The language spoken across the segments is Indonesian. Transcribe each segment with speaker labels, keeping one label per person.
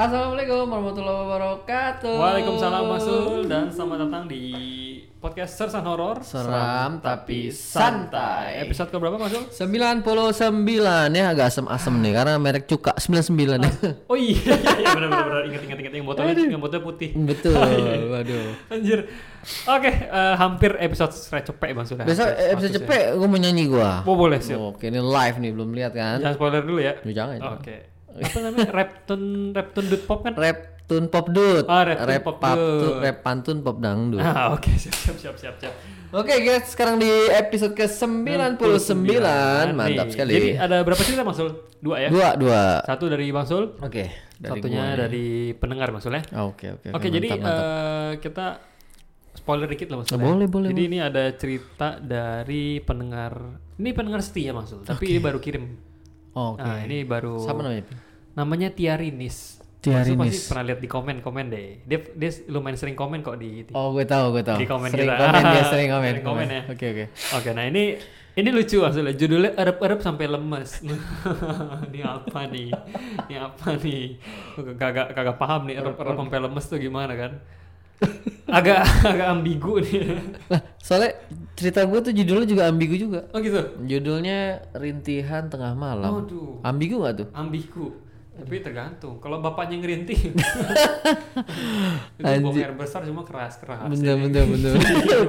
Speaker 1: Assalamualaikum warahmatullahi wabarakatuh.
Speaker 2: Waalaikumsalam Mas Ul dan selamat datang di podcast Sersan Horor.
Speaker 1: Seram tapi santai.
Speaker 2: Episode ke berapa Mas Ul?
Speaker 1: 99 ya agak asem-asem nih karena merek cuka 99 ya.
Speaker 2: Oh iya, iya, iya benar benar benar. ingat ingat ingat yang botolnya yang botolnya putih.
Speaker 1: Betul.
Speaker 2: Oh, iya, iya.
Speaker 1: Waduh.
Speaker 2: Anjir. Oke, eh, hampir episode serai cepet Mas Ul.
Speaker 1: Besok eh,
Speaker 2: ya.
Speaker 1: episode cepet gue mau nyanyi gua.
Speaker 2: Nah, Oh, boleh sih.
Speaker 1: Oke, ini live nih belum lihat kan?
Speaker 2: Jangan spoiler dulu ya.
Speaker 1: Ya, jangan.
Speaker 2: Oke. Apa namanya? Reptun Reptun Dut Pop kan?
Speaker 1: Rap tun pop dut.
Speaker 2: Ah, rap tun
Speaker 1: rap
Speaker 2: pop
Speaker 1: pap-
Speaker 2: dut.
Speaker 1: tu- rap pantun pop dangdut.
Speaker 2: Ah, oke, siap siap siap siap siap.
Speaker 1: Oke, guys, sekarang di episode ke-99.
Speaker 2: 99.
Speaker 1: Mantap
Speaker 2: Nih,
Speaker 1: sekali.
Speaker 2: Jadi ada berapa cerita Mas Ul? Dua ya.
Speaker 1: Dua, dua.
Speaker 2: Satu dari Bang Sul,
Speaker 1: Oke, dari gua
Speaker 2: satunya
Speaker 1: ya. nih.
Speaker 2: dari pendengar Mas Ul ya.
Speaker 1: Ah, Oke, oke.
Speaker 2: Oke, jadi
Speaker 1: mantap, mantap.
Speaker 2: eh, kita spoiler dikit lah maksudnya.
Speaker 1: Boleh, boleh,
Speaker 2: Jadi ini ada cerita dari pendengar. Ini pendengar setia maksud, tapi ini baru kirim.
Speaker 1: Oh, Oke.
Speaker 2: Nah, ini baru
Speaker 1: Siapa namanya? Pi?
Speaker 2: namanya Tiarinis.
Speaker 1: Tiarinis.
Speaker 2: Maksud pasti pernah lihat di komen-komen deh. Dia dia lumayan sering komen kok di di-
Speaker 1: Oh, gue tahu, gue tahu.
Speaker 2: Di komen
Speaker 1: sering
Speaker 2: kita.
Speaker 1: komen dia, sering komen.
Speaker 2: Sering komen ya.
Speaker 1: Oke, oke.
Speaker 2: Oke, nah ini ini lucu maksudnya. Judulnya erep-erep sampai lemes. ini apa nih? Ini apa nih? Gua Kagak kagak paham nih erep-erep sampai lemes tuh gimana kan? Agak agak ambigu nih.
Speaker 1: Lah, soalnya cerita gue tuh judulnya juga ambigu juga.
Speaker 2: Oh gitu.
Speaker 1: Judulnya Rintihan Tengah Malam.
Speaker 2: Waduh,
Speaker 1: Ambigu gak tuh?
Speaker 2: ambigu. Tapi tergantung. Kalau bapaknya ngerintih, itu bom
Speaker 1: Anjir.
Speaker 2: air besar cuma keras keras.
Speaker 1: Bener, bener, bener.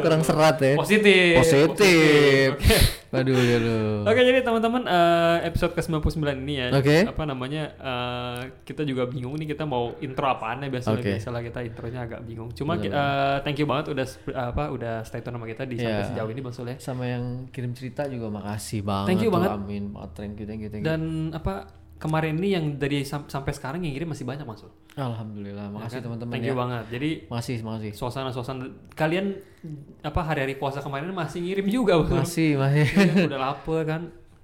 Speaker 1: Kurang serat ya.
Speaker 2: Iya, Positif.
Speaker 1: Positif.
Speaker 2: Oke.
Speaker 1: Waduh, ya lu.
Speaker 2: Oke jadi teman-teman eh, episode ke-99 ini ya
Speaker 1: Oke.
Speaker 2: apa namanya eh, kita juga bingung nih kita mau intro apaan ya biasanya
Speaker 1: Oke.
Speaker 2: biasalah kita intronya agak bingung. Cuma ki- eh, thank you banget udah sp- apa udah stay tune sama kita di sampai
Speaker 1: Iya.
Speaker 2: sejauh ini Bang Sul ya.
Speaker 1: Sama yang kirim cerita juga makasih banget.
Speaker 2: Thank you
Speaker 1: tuh.
Speaker 2: banget.
Speaker 1: Amin. Oh, thank you, thank you, thank you.
Speaker 2: Dan apa kemarin ini yang dari sam- sampai sekarang yang kirim masih banyak Bang Sul.
Speaker 1: Alhamdulillah. Makasih teman-teman
Speaker 2: Iya kan? Thank
Speaker 1: ya.
Speaker 2: you banget. Jadi
Speaker 1: Makasih, makasih.
Speaker 2: suasana-suasana kalian apa hari-hari puasa kemarin masih ngirim juga Bang Sul.
Speaker 1: Masih, masih.
Speaker 2: Kalian udah lapar kan.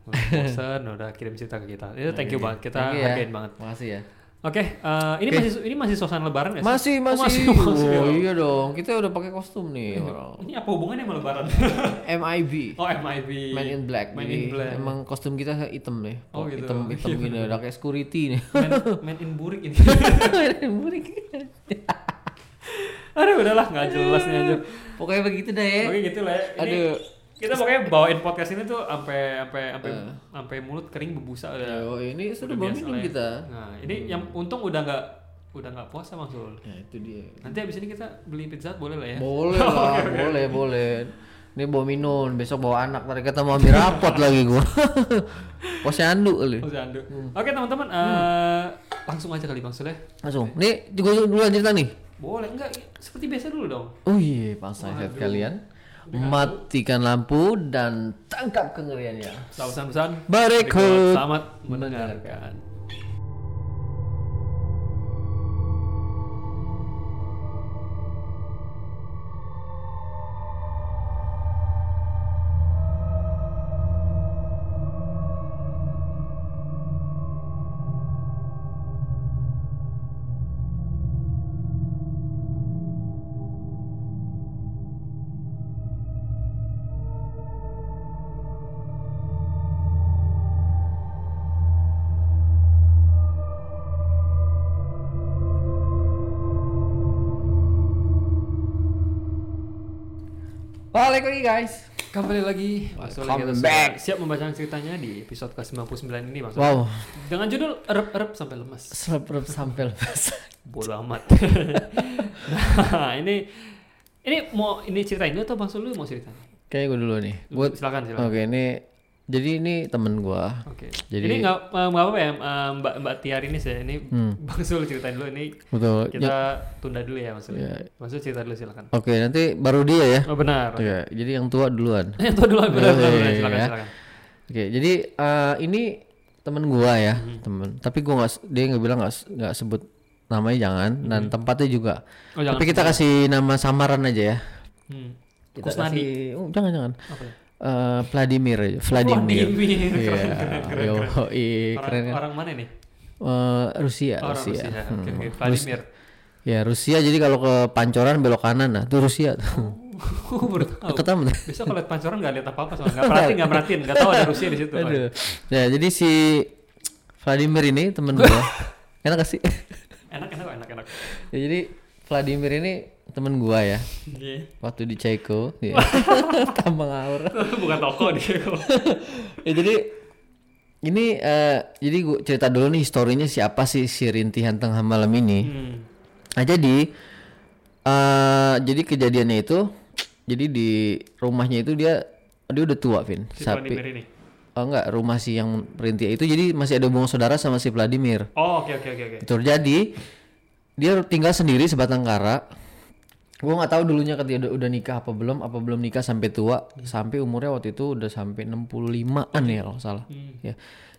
Speaker 2: Udah bosen udah kirim cerita ke kita. Itu thank you banget. Kita
Speaker 1: Iya, Thank you ya.
Speaker 2: hargain banget.
Speaker 1: Makasih ya.
Speaker 2: Oke, eh, ini masih ini masih suasana lebaran ya?
Speaker 1: Masih,
Speaker 2: Oh,
Speaker 1: masih.
Speaker 2: masih, masih.
Speaker 1: Oh, iya dong. Kita udah pakai kostum nih orang.
Speaker 2: Ini apa hubungannya sama lebaran?
Speaker 1: MIB.
Speaker 2: oh, MIB.
Speaker 1: Man in Black.
Speaker 2: Man
Speaker 1: Jadi
Speaker 2: in Black.
Speaker 1: emang kostum kita hitam nih.
Speaker 2: Oh, gitu.
Speaker 1: Hitam hitam
Speaker 2: Iya,
Speaker 1: gini udah kayak security nih.
Speaker 2: Man, man in burik ini.
Speaker 1: Burik.
Speaker 2: Aduh, udahlah nggak jelas nih anjir.
Speaker 1: Pokoknya begitu dah ya.
Speaker 2: Oke, gitu lah ya. Ini
Speaker 1: Aduh.
Speaker 2: Kita pokoknya bawain podcast ini tuh sampai sampai sampai
Speaker 1: Eh.
Speaker 2: sampai mulut kering berbusa udah.
Speaker 1: Ya, oh, ini sudah
Speaker 2: udah
Speaker 1: bawa
Speaker 2: biasa
Speaker 1: minum
Speaker 2: lah ya.
Speaker 1: kita. Hmm.
Speaker 2: Nah, ini yang untung udah nggak udah nggak puasa maksud.
Speaker 1: Ya itu dia.
Speaker 2: Nanti abis ini kita beli pizza boleh lah ya.
Speaker 1: Boleh lah, boleh, boleh. Ini bawa minum, besok bawa anak, ntar kita mau ambil rapot lagi gua. Posyandu kali.
Speaker 2: Mas Andu.
Speaker 1: Hmm.
Speaker 2: Oke teman-teman, eh langsung aja kali Bang Sul ya.
Speaker 1: Langsung. Nih, gua duluan cerita nih.
Speaker 2: Boleh enggak? Seperti biasa dulu dong.
Speaker 1: Oh iya, pasang headset kalian. Matikan lampu dan tangkap kengeriannya.
Speaker 2: Selamat pesan-pesan.
Speaker 1: Berikut.
Speaker 2: Selamat mendengarkan.
Speaker 1: Balik lagi guys.
Speaker 2: Kembali lagi. Mas Sul,
Speaker 1: Welcome
Speaker 2: kita sudah
Speaker 1: back.
Speaker 2: Siap membaca ceritanya di episode ke-99 ini Mas. Sul.
Speaker 1: Wow,
Speaker 2: Dengan judul Erep-erep sampai lemes.
Speaker 1: serap-serap sampai lepas.
Speaker 2: Bola amat. nah, ini ini mau ini ceritain dulu atau Bang Sul dulu mau ceritain?
Speaker 1: Kayaknya gue dulu nih. Buat Oh.
Speaker 2: silakan silakan.
Speaker 1: Oke, ini jadi ini temen gua.
Speaker 2: Oke.
Speaker 1: Jadi-
Speaker 2: ini nggak eh, nggak apa-apa ya eh, Mbak Mbak Tiar ini sih. Ini
Speaker 1: Hmm.
Speaker 2: Bang Sul ceritain dulu ini
Speaker 1: Betul.
Speaker 2: kita tunda dulu ya Mas Sul.
Speaker 1: Iya.
Speaker 2: Mas Sul cerita dulu silakan.
Speaker 1: Oke, nanti baru dia ya.
Speaker 2: Oh benar.
Speaker 1: Oke, jadi yang tua duluan.
Speaker 2: Eh, Itu dulu benar benar, benar.
Speaker 1: Iya, iya,
Speaker 2: silakan
Speaker 1: iya.
Speaker 2: silakan.
Speaker 1: Oke, jadi eh, ini temen gua ya,
Speaker 2: Hmm.
Speaker 1: temen. Tapi gua nggak s- dia nggak bilang nggak s- nggak sebut namanya jangan dan tempatnya juga.
Speaker 2: Hmm. Oh jangan.
Speaker 1: Tapi kita kasih nama samaran aja ya.
Speaker 2: Hmm.
Speaker 1: Kita
Speaker 2: Kusnadi.
Speaker 1: kasih, oh, jangan jangan.
Speaker 2: Apa ya?
Speaker 1: Eh, Vladimir, aja, Vladimir. Iya,
Speaker 2: Vladimir. Keren, keren, keren,
Speaker 1: yo,
Speaker 2: keren.
Speaker 1: i-
Speaker 2: Orang,
Speaker 1: keren kan?
Speaker 2: orang mana nih?
Speaker 1: Eh, Rusia,
Speaker 2: Orang
Speaker 1: Rusia.
Speaker 2: Rusia.
Speaker 1: Hmm.
Speaker 2: Oke, oke. Vladimir.
Speaker 1: Ya Rusia jadi kalau ke pancoran belok kanan nah itu Rusia tuh.
Speaker 2: Oh, baru tahu.
Speaker 1: Deket amat.
Speaker 2: Bisa kalau lihat pancoran nggak lihat apa-apa soalnya nggak perhatiin nggak perhatiin nggak tahu ada Rusia di situ.
Speaker 1: Aduh. Ya jadi si Vladimir ini temen gue. Enak gak sih?
Speaker 2: Enak enak-enak.
Speaker 1: Ya, jadi Vladimir ini temen gua ya
Speaker 2: Iya.
Speaker 1: waktu di Ceko ya. tambang aur
Speaker 2: Bukan toko dia.
Speaker 1: ya jadi ini eh, jadi gua cerita dulu nih historinya siapa sih si rintihan tengah malam ini
Speaker 2: Hmm.
Speaker 1: nah jadi eh jadi kejadiannya itu jadi di rumahnya itu dia dia udah tua Vin
Speaker 2: Si
Speaker 1: sapi
Speaker 2: Vladimir ini.
Speaker 1: oh enggak rumah si yang rintihan itu jadi masih ada hubungan saudara sama si Vladimir
Speaker 2: Oh, oke oke oke oke.
Speaker 1: Gitu. Jadi dia tinggal sendiri sebatang kara. Gue nggak tahu dulunya ketika udah, udah nikah apa belum, apa belum nikah sampai tua, sampai umurnya waktu itu udah sampai 65-an ya kalau nggak salah.
Speaker 2: Hmm.
Speaker 1: Ya.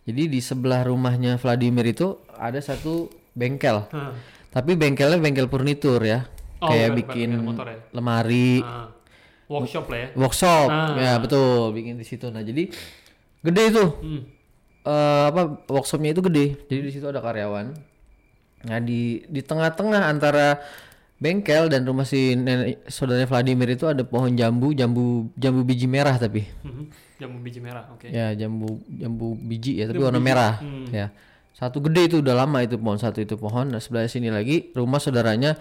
Speaker 1: Jadi di sebelah rumahnya Vladimir itu ada satu bengkel.
Speaker 2: Hah.
Speaker 1: Tapi bengkelnya bengkel furnitur ya.
Speaker 2: Oh,
Speaker 1: Kayak
Speaker 2: bukan- bukan
Speaker 1: bikin
Speaker 2: bengkel motor ya?
Speaker 1: lemari,
Speaker 2: Ah. Workshop lah ya.
Speaker 1: workshop.
Speaker 2: Ah.
Speaker 1: Ya, betul, bikin di situ. Nah, jadi gede tuh
Speaker 2: Hmm.
Speaker 1: eh apa workshopnya itu gede jadi di situ ada karyawan nah di di tengah-tengah antara bengkel dan rumah si nenek saudaranya Vladimir itu ada pohon jambu jambu jambu biji merah tapi
Speaker 2: Mhm. Jamu biji merah, oke.
Speaker 1: ya jambu jambu biji ya tapi warna merah ya satu gede itu udah lama itu pohon satu itu pohon nah sebelah sini lagi rumah saudaranya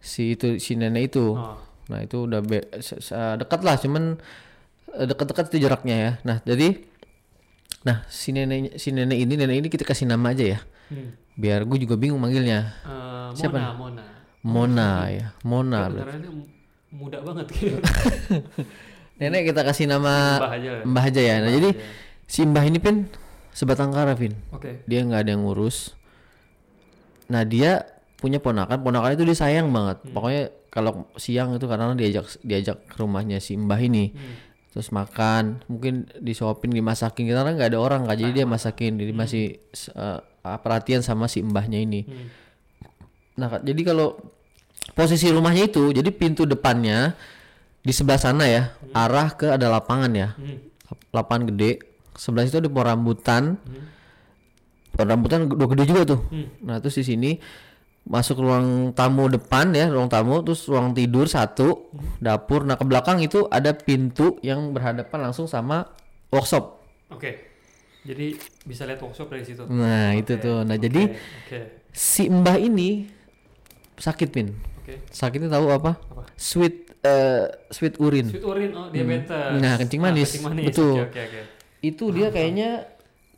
Speaker 1: si itu si nenek itu
Speaker 2: Ah.
Speaker 1: Nah itu udah be- se- se- dekat lah, cuman eh, dekat-dekat itu jaraknya ya. Nah jadi, nah si nenek si nenek ini nenek ini kita kasih nama aja ya,
Speaker 2: Hmm.
Speaker 1: biar gue juga bingung manggilnya.
Speaker 2: Eh,
Speaker 1: Siapa?
Speaker 2: Mona, Mona.
Speaker 1: Mona ya, Mona.
Speaker 2: Kedengarannya mu- muda banget gitu.
Speaker 1: Nenek kita kasih nama
Speaker 2: Mbah aja lah.
Speaker 1: Mbah aja ya. Nah
Speaker 2: Mbah
Speaker 1: Ah, jadi
Speaker 2: aja.
Speaker 1: si Mbah ini pin sebatang kara Vin.
Speaker 2: Oke.
Speaker 1: Dia nggak ada yang ngurus. Nah dia punya ponakan, ponakan itu dia sayang banget. Pokoknya kalau siang itu karena diajak diajak ke rumahnya si Mbah ini.
Speaker 2: Hmm.
Speaker 1: terus makan mungkin disuapin dimasakin karena nggak ada orang nggak jadi dia masakin jadi masih s- eh, perhatian sama si mbahnya ini
Speaker 2: Hmm.
Speaker 1: nah Kak, jadi kalau posisi rumahnya itu jadi pintu depannya di sebelah sana ya arah ke ada lapangan ya
Speaker 2: Hmm.
Speaker 1: lap- lapangan gede sebelah situ ada pohon rambutan
Speaker 2: Hmm.
Speaker 1: pohon rambutan udah gede juga tuh
Speaker 2: Hmm.
Speaker 1: nah terus di sini masuk ruang tamu depan ya ruang tamu terus ruang tidur satu
Speaker 2: Hmm.
Speaker 1: dapur nah ke belakang itu ada pintu yang berhadapan langsung sama workshop
Speaker 2: Oke. Jadi bisa lihat workshop dari situ.
Speaker 1: nah itu
Speaker 2: Oke,
Speaker 1: tuh nah
Speaker 2: oke,
Speaker 1: jadi
Speaker 2: Oke.
Speaker 1: si mbah ini sakit pin
Speaker 2: Oke.
Speaker 1: sakitnya tahu apa,
Speaker 2: Apa?
Speaker 1: sweet eh, sweet urin
Speaker 2: Sweet urine, oh diabetes.
Speaker 1: Nah, kencing manis. Betul.
Speaker 2: Oke, oke, oke.
Speaker 1: itu dia kayaknya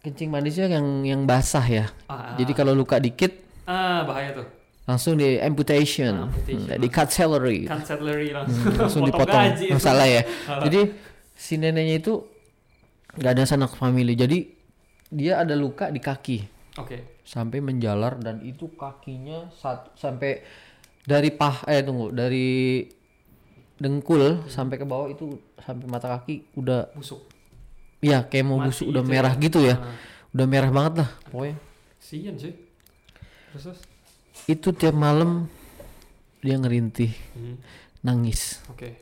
Speaker 1: kencing manisnya yang yang basah ya
Speaker 2: Ah, ah.
Speaker 1: jadi kalau luka dikit
Speaker 2: Ah, bahaya tuh.
Speaker 1: langsung di amputation,
Speaker 2: Ah, Amputation,
Speaker 1: Hmm, di cut salary
Speaker 2: Kan salary langsung.
Speaker 1: Hmm, langsung dipotong
Speaker 2: gaji. Ah,
Speaker 1: masalah ya jadi si neneknya itu nggak ada sanak famili jadi dia ada luka di kaki
Speaker 2: Oke.
Speaker 1: sampai menjalar dan itu kakinya satu sampai dari pah eh tunggu dari dengkul sampai ke bawah itu sampai mata kaki udah
Speaker 2: Busuk.
Speaker 1: ya kayak mau
Speaker 2: Mati
Speaker 1: busuk udah
Speaker 2: itu
Speaker 1: merah gitu ya
Speaker 2: Ah,
Speaker 1: udah merah banget lah pokoknya
Speaker 2: Sian sih. Terus terus.
Speaker 1: itu tiap malam dia ngerintih
Speaker 2: Hmm,
Speaker 1: nangis
Speaker 2: Oke.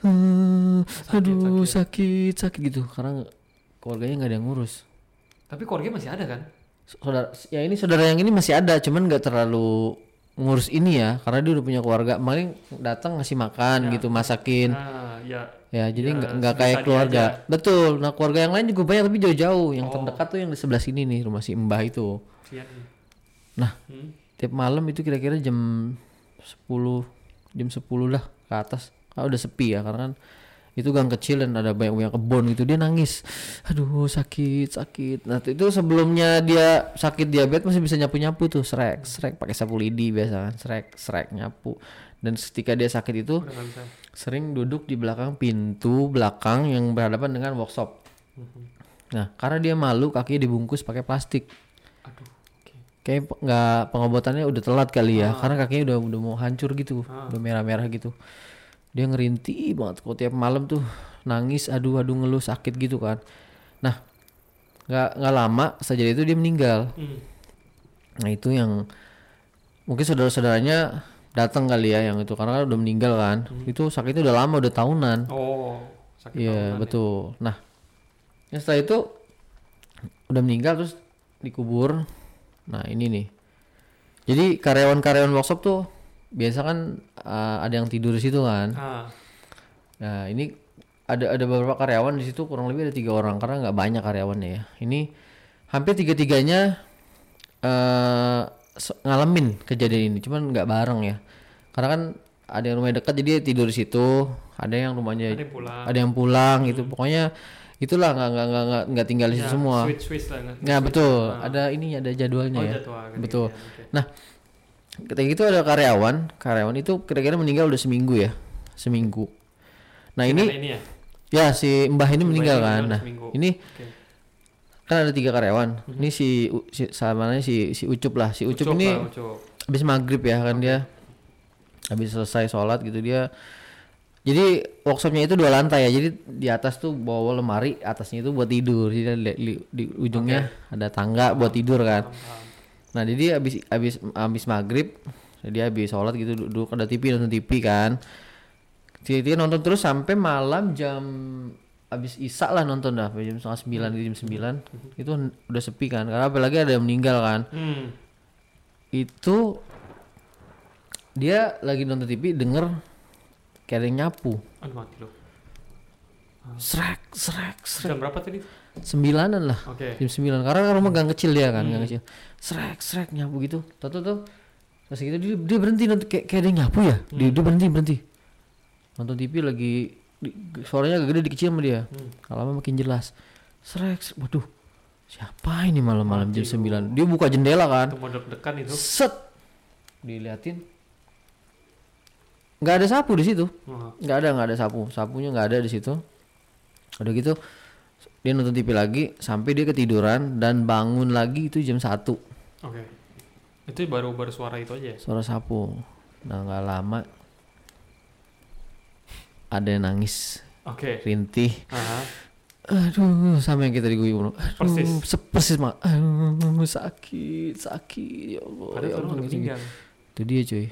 Speaker 1: "Hmm,
Speaker 2: Sakit,
Speaker 1: aduh sakit. sakit gitu karena keluarganya nggak ada yang ngurus
Speaker 2: Tapi keluarga masih ada kan?
Speaker 1: saudara ya ini saudara yang ini masih ada cuman nggak terlalu ngurus ini ya karena dia udah punya keluarga paling datang ngasih makan gitu masakin
Speaker 2: Nah, ya.
Speaker 1: ya jadi
Speaker 2: Ya,
Speaker 1: nggak nggak
Speaker 2: sebisa
Speaker 1: kayak
Speaker 2: dia
Speaker 1: keluarga betul nah keluarga yang lain juga banyak tapi jauh-jauh yang
Speaker 2: Oh.
Speaker 1: terdekat tuh yang di sebelah sini nih rumah si mbah itu
Speaker 2: Sian. nih.
Speaker 1: Nah.
Speaker 2: Hmm,
Speaker 1: tiap malam itu kira-kira jam 10 jam 10 lah ke atas kalau udah sepi ya karena kan itu gang kecil dan ada banyak banyak kebun gitu dia nangis aduh sakit sakit nah itu sebelumnya dia sakit diabetes masih bisa nyapu nyapu tuh srek srek pakai sapu lidi biasa kan srek srek nyapu dan ketika dia sakit itu
Speaker 2: Udah nggak bisa.
Speaker 1: sering duduk di belakang pintu belakang yang berhadapan dengan workshop
Speaker 2: Mm-hmm.
Speaker 1: nah karena dia malu kakinya dibungkus pakai plastik
Speaker 2: Aduh. Oke. Ah.
Speaker 1: kayak pe- nggak pengobatannya udah telat kali ya karena kakinya udah udah mau hancur gitu udah merah-merah gitu dia ngerintih banget kok tiap malam tuh nangis aduh aduh ngeluh sakit gitu kan nah nggak nggak lama setelah itu dia meninggal
Speaker 2: Hmm,
Speaker 1: nah itu yang mungkin saudara-saudaranya datang kali ya yang itu karena kan udah meninggal kan itu sakitnya udah lama udah tahunan
Speaker 2: Oh, Hmm. sakit
Speaker 1: Iya
Speaker 2: tahunan ya.
Speaker 1: betul. Nah, ya setelah itu udah meninggal terus dikubur. Nah ini nih. Jadi karyawan-karyawan workshop tuh biasa kan uh, ada yang tidur di situ kan.
Speaker 2: Ah,
Speaker 1: Nah ini ada ada beberapa karyawan di situ kurang lebih ada tiga orang karena nggak banyak karyawannya ya. Ini hampir tiga tiganya eh se- ngalamin kejadian ini cuman nggak bareng ya karena kan ada yang rumahnya dekat jadi dia tidur di situ ada yang rumahnya
Speaker 2: Ada yang pulang.
Speaker 1: ada yang pulang gitu pokoknya itulah nggak nggak nggak nggak- nggak tinggal di situ
Speaker 2: Ya,
Speaker 1: semua
Speaker 2: Switch-switch lah kan.
Speaker 1: nah betul
Speaker 2: Ah.
Speaker 1: ada ininya ada jadwalnya
Speaker 2: Oh,
Speaker 1: ya
Speaker 2: jadwal kan,
Speaker 1: betul
Speaker 2: iya, oke.
Speaker 1: nah ketika itu ada karyawan karyawan itu kira-kira meninggal udah seminggu ya seminggu nah
Speaker 2: Ada
Speaker 1: ini
Speaker 2: ini ya.
Speaker 1: ya si mbah ini
Speaker 2: Mbah
Speaker 1: meninggal
Speaker 2: ini
Speaker 1: kan
Speaker 2: meninggal
Speaker 1: nah
Speaker 2: seminggu.
Speaker 1: ini
Speaker 2: Oke. Mhm.
Speaker 1: kan ada tiga karyawan ini si, U- si samannya si si ucup lah si ucup,
Speaker 2: Ucup ah.
Speaker 1: ini
Speaker 2: lah, Ucup.
Speaker 1: habis maghrib ya kan dia habis selesai sholat gitu dia jadi workshopnya itu dua lantai ya jadi di atas tuh bawa lemari atasnya itu buat tidur jadi di, di- di ujungnya ada tangga buat tidur kan
Speaker 2: Paham, paham.
Speaker 1: nah jadi habis habis habis maghrib jadi habis sholat gitu duduk ada TV nonton TV kan dia, dia nonton terus sampai malam jam habis isak lah nonton dah sampai jam setengah sembilan gitu, jam sembilan itu n- udah sepi kan karena apalagi ada yang meninggal kan
Speaker 2: Hmm.
Speaker 1: itu dia lagi nonton TV denger kayak ada yang nyapu
Speaker 2: Aduh mati lu.
Speaker 1: srek srek srek
Speaker 2: Jam berapa tadi? Oke.
Speaker 1: sembilanan lah jam sembilan karena kan rumah gang kecil dia kan gang kecil srek srek nyapu gitu tau tau tau pas gitu dia, dia berhenti nonton kayak, kayak ada yang nyapu ya dia, dia berhenti berhenti nonton TV lagi di- suaranya agak gede dikecil sama dia
Speaker 2: Hmm,
Speaker 1: lama makin jelas srek, srek. waduh siapa ini malam-malam jam
Speaker 2: Mati lu.
Speaker 1: sembilan dia buka jendela kan
Speaker 2: Itu model dekan itu.
Speaker 1: set diliatin nggak ada sapu di situ
Speaker 2: Wah.
Speaker 1: nggak ada nggak ada sapu sapunya nggak ada di situ udah gitu dia nonton TV lagi sampai dia ketiduran dan bangun lagi itu jam satu
Speaker 2: Oke. Itu baru baru suara itu aja. ya?
Speaker 1: suara sapu nah nggak lama ada yang nangis
Speaker 2: Oke.
Speaker 1: rintih
Speaker 2: Aha.
Speaker 1: aduh sama yang kita diguyur
Speaker 2: Persis.
Speaker 1: aduh se- persis mak aduh sakit sakit ya Allah
Speaker 2: Padahal
Speaker 1: ya
Speaker 2: orang
Speaker 1: Allah,
Speaker 2: udah
Speaker 1: gitu.
Speaker 2: meninggal.
Speaker 1: Itu dia cuy.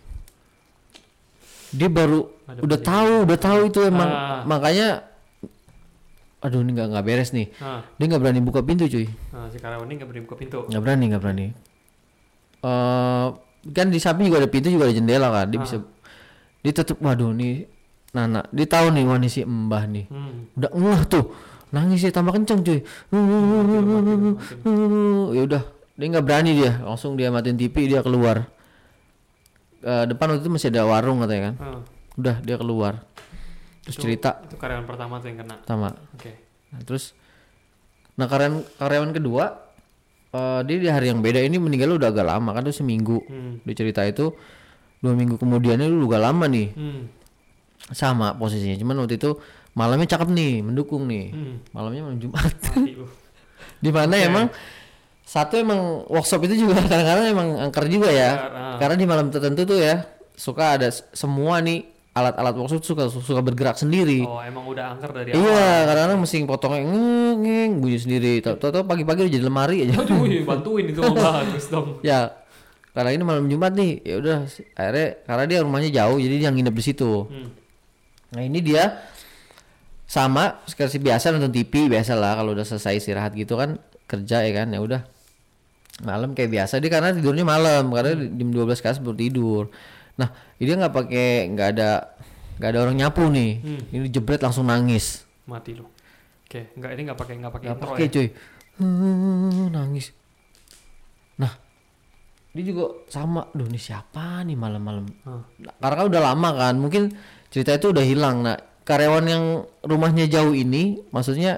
Speaker 1: Dia baru
Speaker 2: Ada
Speaker 1: udah
Speaker 2: penyakit.
Speaker 1: tahu, udah tahu itu emang
Speaker 2: Ah.
Speaker 1: makanya aduh ini nggak nggak beres nih.
Speaker 2: Nah,
Speaker 1: Dia nggak berani buka pintu cuy.
Speaker 2: nah, si karyawan ini nggak berani buka pintu.
Speaker 1: Nggak berani, nggak berani. Eh kan di samping juga ada pintu juga ada jendela kan. Dia
Speaker 2: Ah.
Speaker 1: bisa dia tetep waduh nih Nana, dia tahu nih wah nih si Mbah nih.
Speaker 2: Hmm.
Speaker 1: Udah ngeh tuh. Nangis ya tambah kenceng cuy.
Speaker 2: Mati lu, mati lu, mati lu.
Speaker 1: ya udah dia nggak berani dia langsung dia matiin TV dia keluar Eh, depan waktu itu masih ada warung katanya kan
Speaker 2: Ah,
Speaker 1: udah dia keluar terus
Speaker 2: Itu-
Speaker 1: cerita
Speaker 2: Itu karyawan pertama tuh yang kena.
Speaker 1: pertama
Speaker 2: Oke.
Speaker 1: nah, terus nah karyawan karyawan kedua eh, dia di hari yang beda ini meninggal udah agak lama kan tuh seminggu
Speaker 2: Hmm.
Speaker 1: dia cerita itu dua minggu kemudiannya lu agak lama nih
Speaker 2: Hmm.
Speaker 1: sama posisinya cuman waktu itu malamnya cakep nih mendukung nih
Speaker 2: Hmm.
Speaker 1: malamnya malam Jumat
Speaker 2: Mati lu.
Speaker 1: di mana
Speaker 2: Oke.
Speaker 1: emang satu emang workshop itu juga kadang-kadang emang angker juga ya
Speaker 2: Angker, ah.
Speaker 1: karena di malam tertentu tuh ya suka ada s- semua nih alat-alat workshop suka suka bergerak sendiri
Speaker 2: Oh, emang udah angker dari
Speaker 1: iya kadang-kadang mesin potongnya ngeng ngeng bunyi sendiri tau tau tau pagi-pagi udah jadi lemari aja
Speaker 2: awal. Aduh, iya, bantuin itu sama bagus dong.
Speaker 1: ya karena ini malam Jumat nih ya udah si- akhirnya karena dia rumahnya jauh jadi dia nginep di situ
Speaker 2: Hmm.
Speaker 1: nah ini dia sama seperti biasa nonton TV biasa lah kalau udah selesai istirahat gitu kan kerja ya kan ya udah malam kayak biasa dia karena tidurnya malam karena jam 12 kan baru tidur nah dia nggak pakai nggak ada nggak ada orang nyapu nih ini jebret langsung nangis
Speaker 2: Mati lu. Oke, enggak ini enggak pakai enggak pakai
Speaker 1: Gak
Speaker 2: intro
Speaker 1: pakai
Speaker 2: ya.
Speaker 1: cuy. Huh, nangis. Nah, dia juga sama. Duh, ini siapa nih malam-malam?
Speaker 2: Ah.
Speaker 1: Nah, Karena kan udah lama kan, mungkin cerita itu udah hilang. Nah, karyawan yang rumahnya jauh ini, maksudnya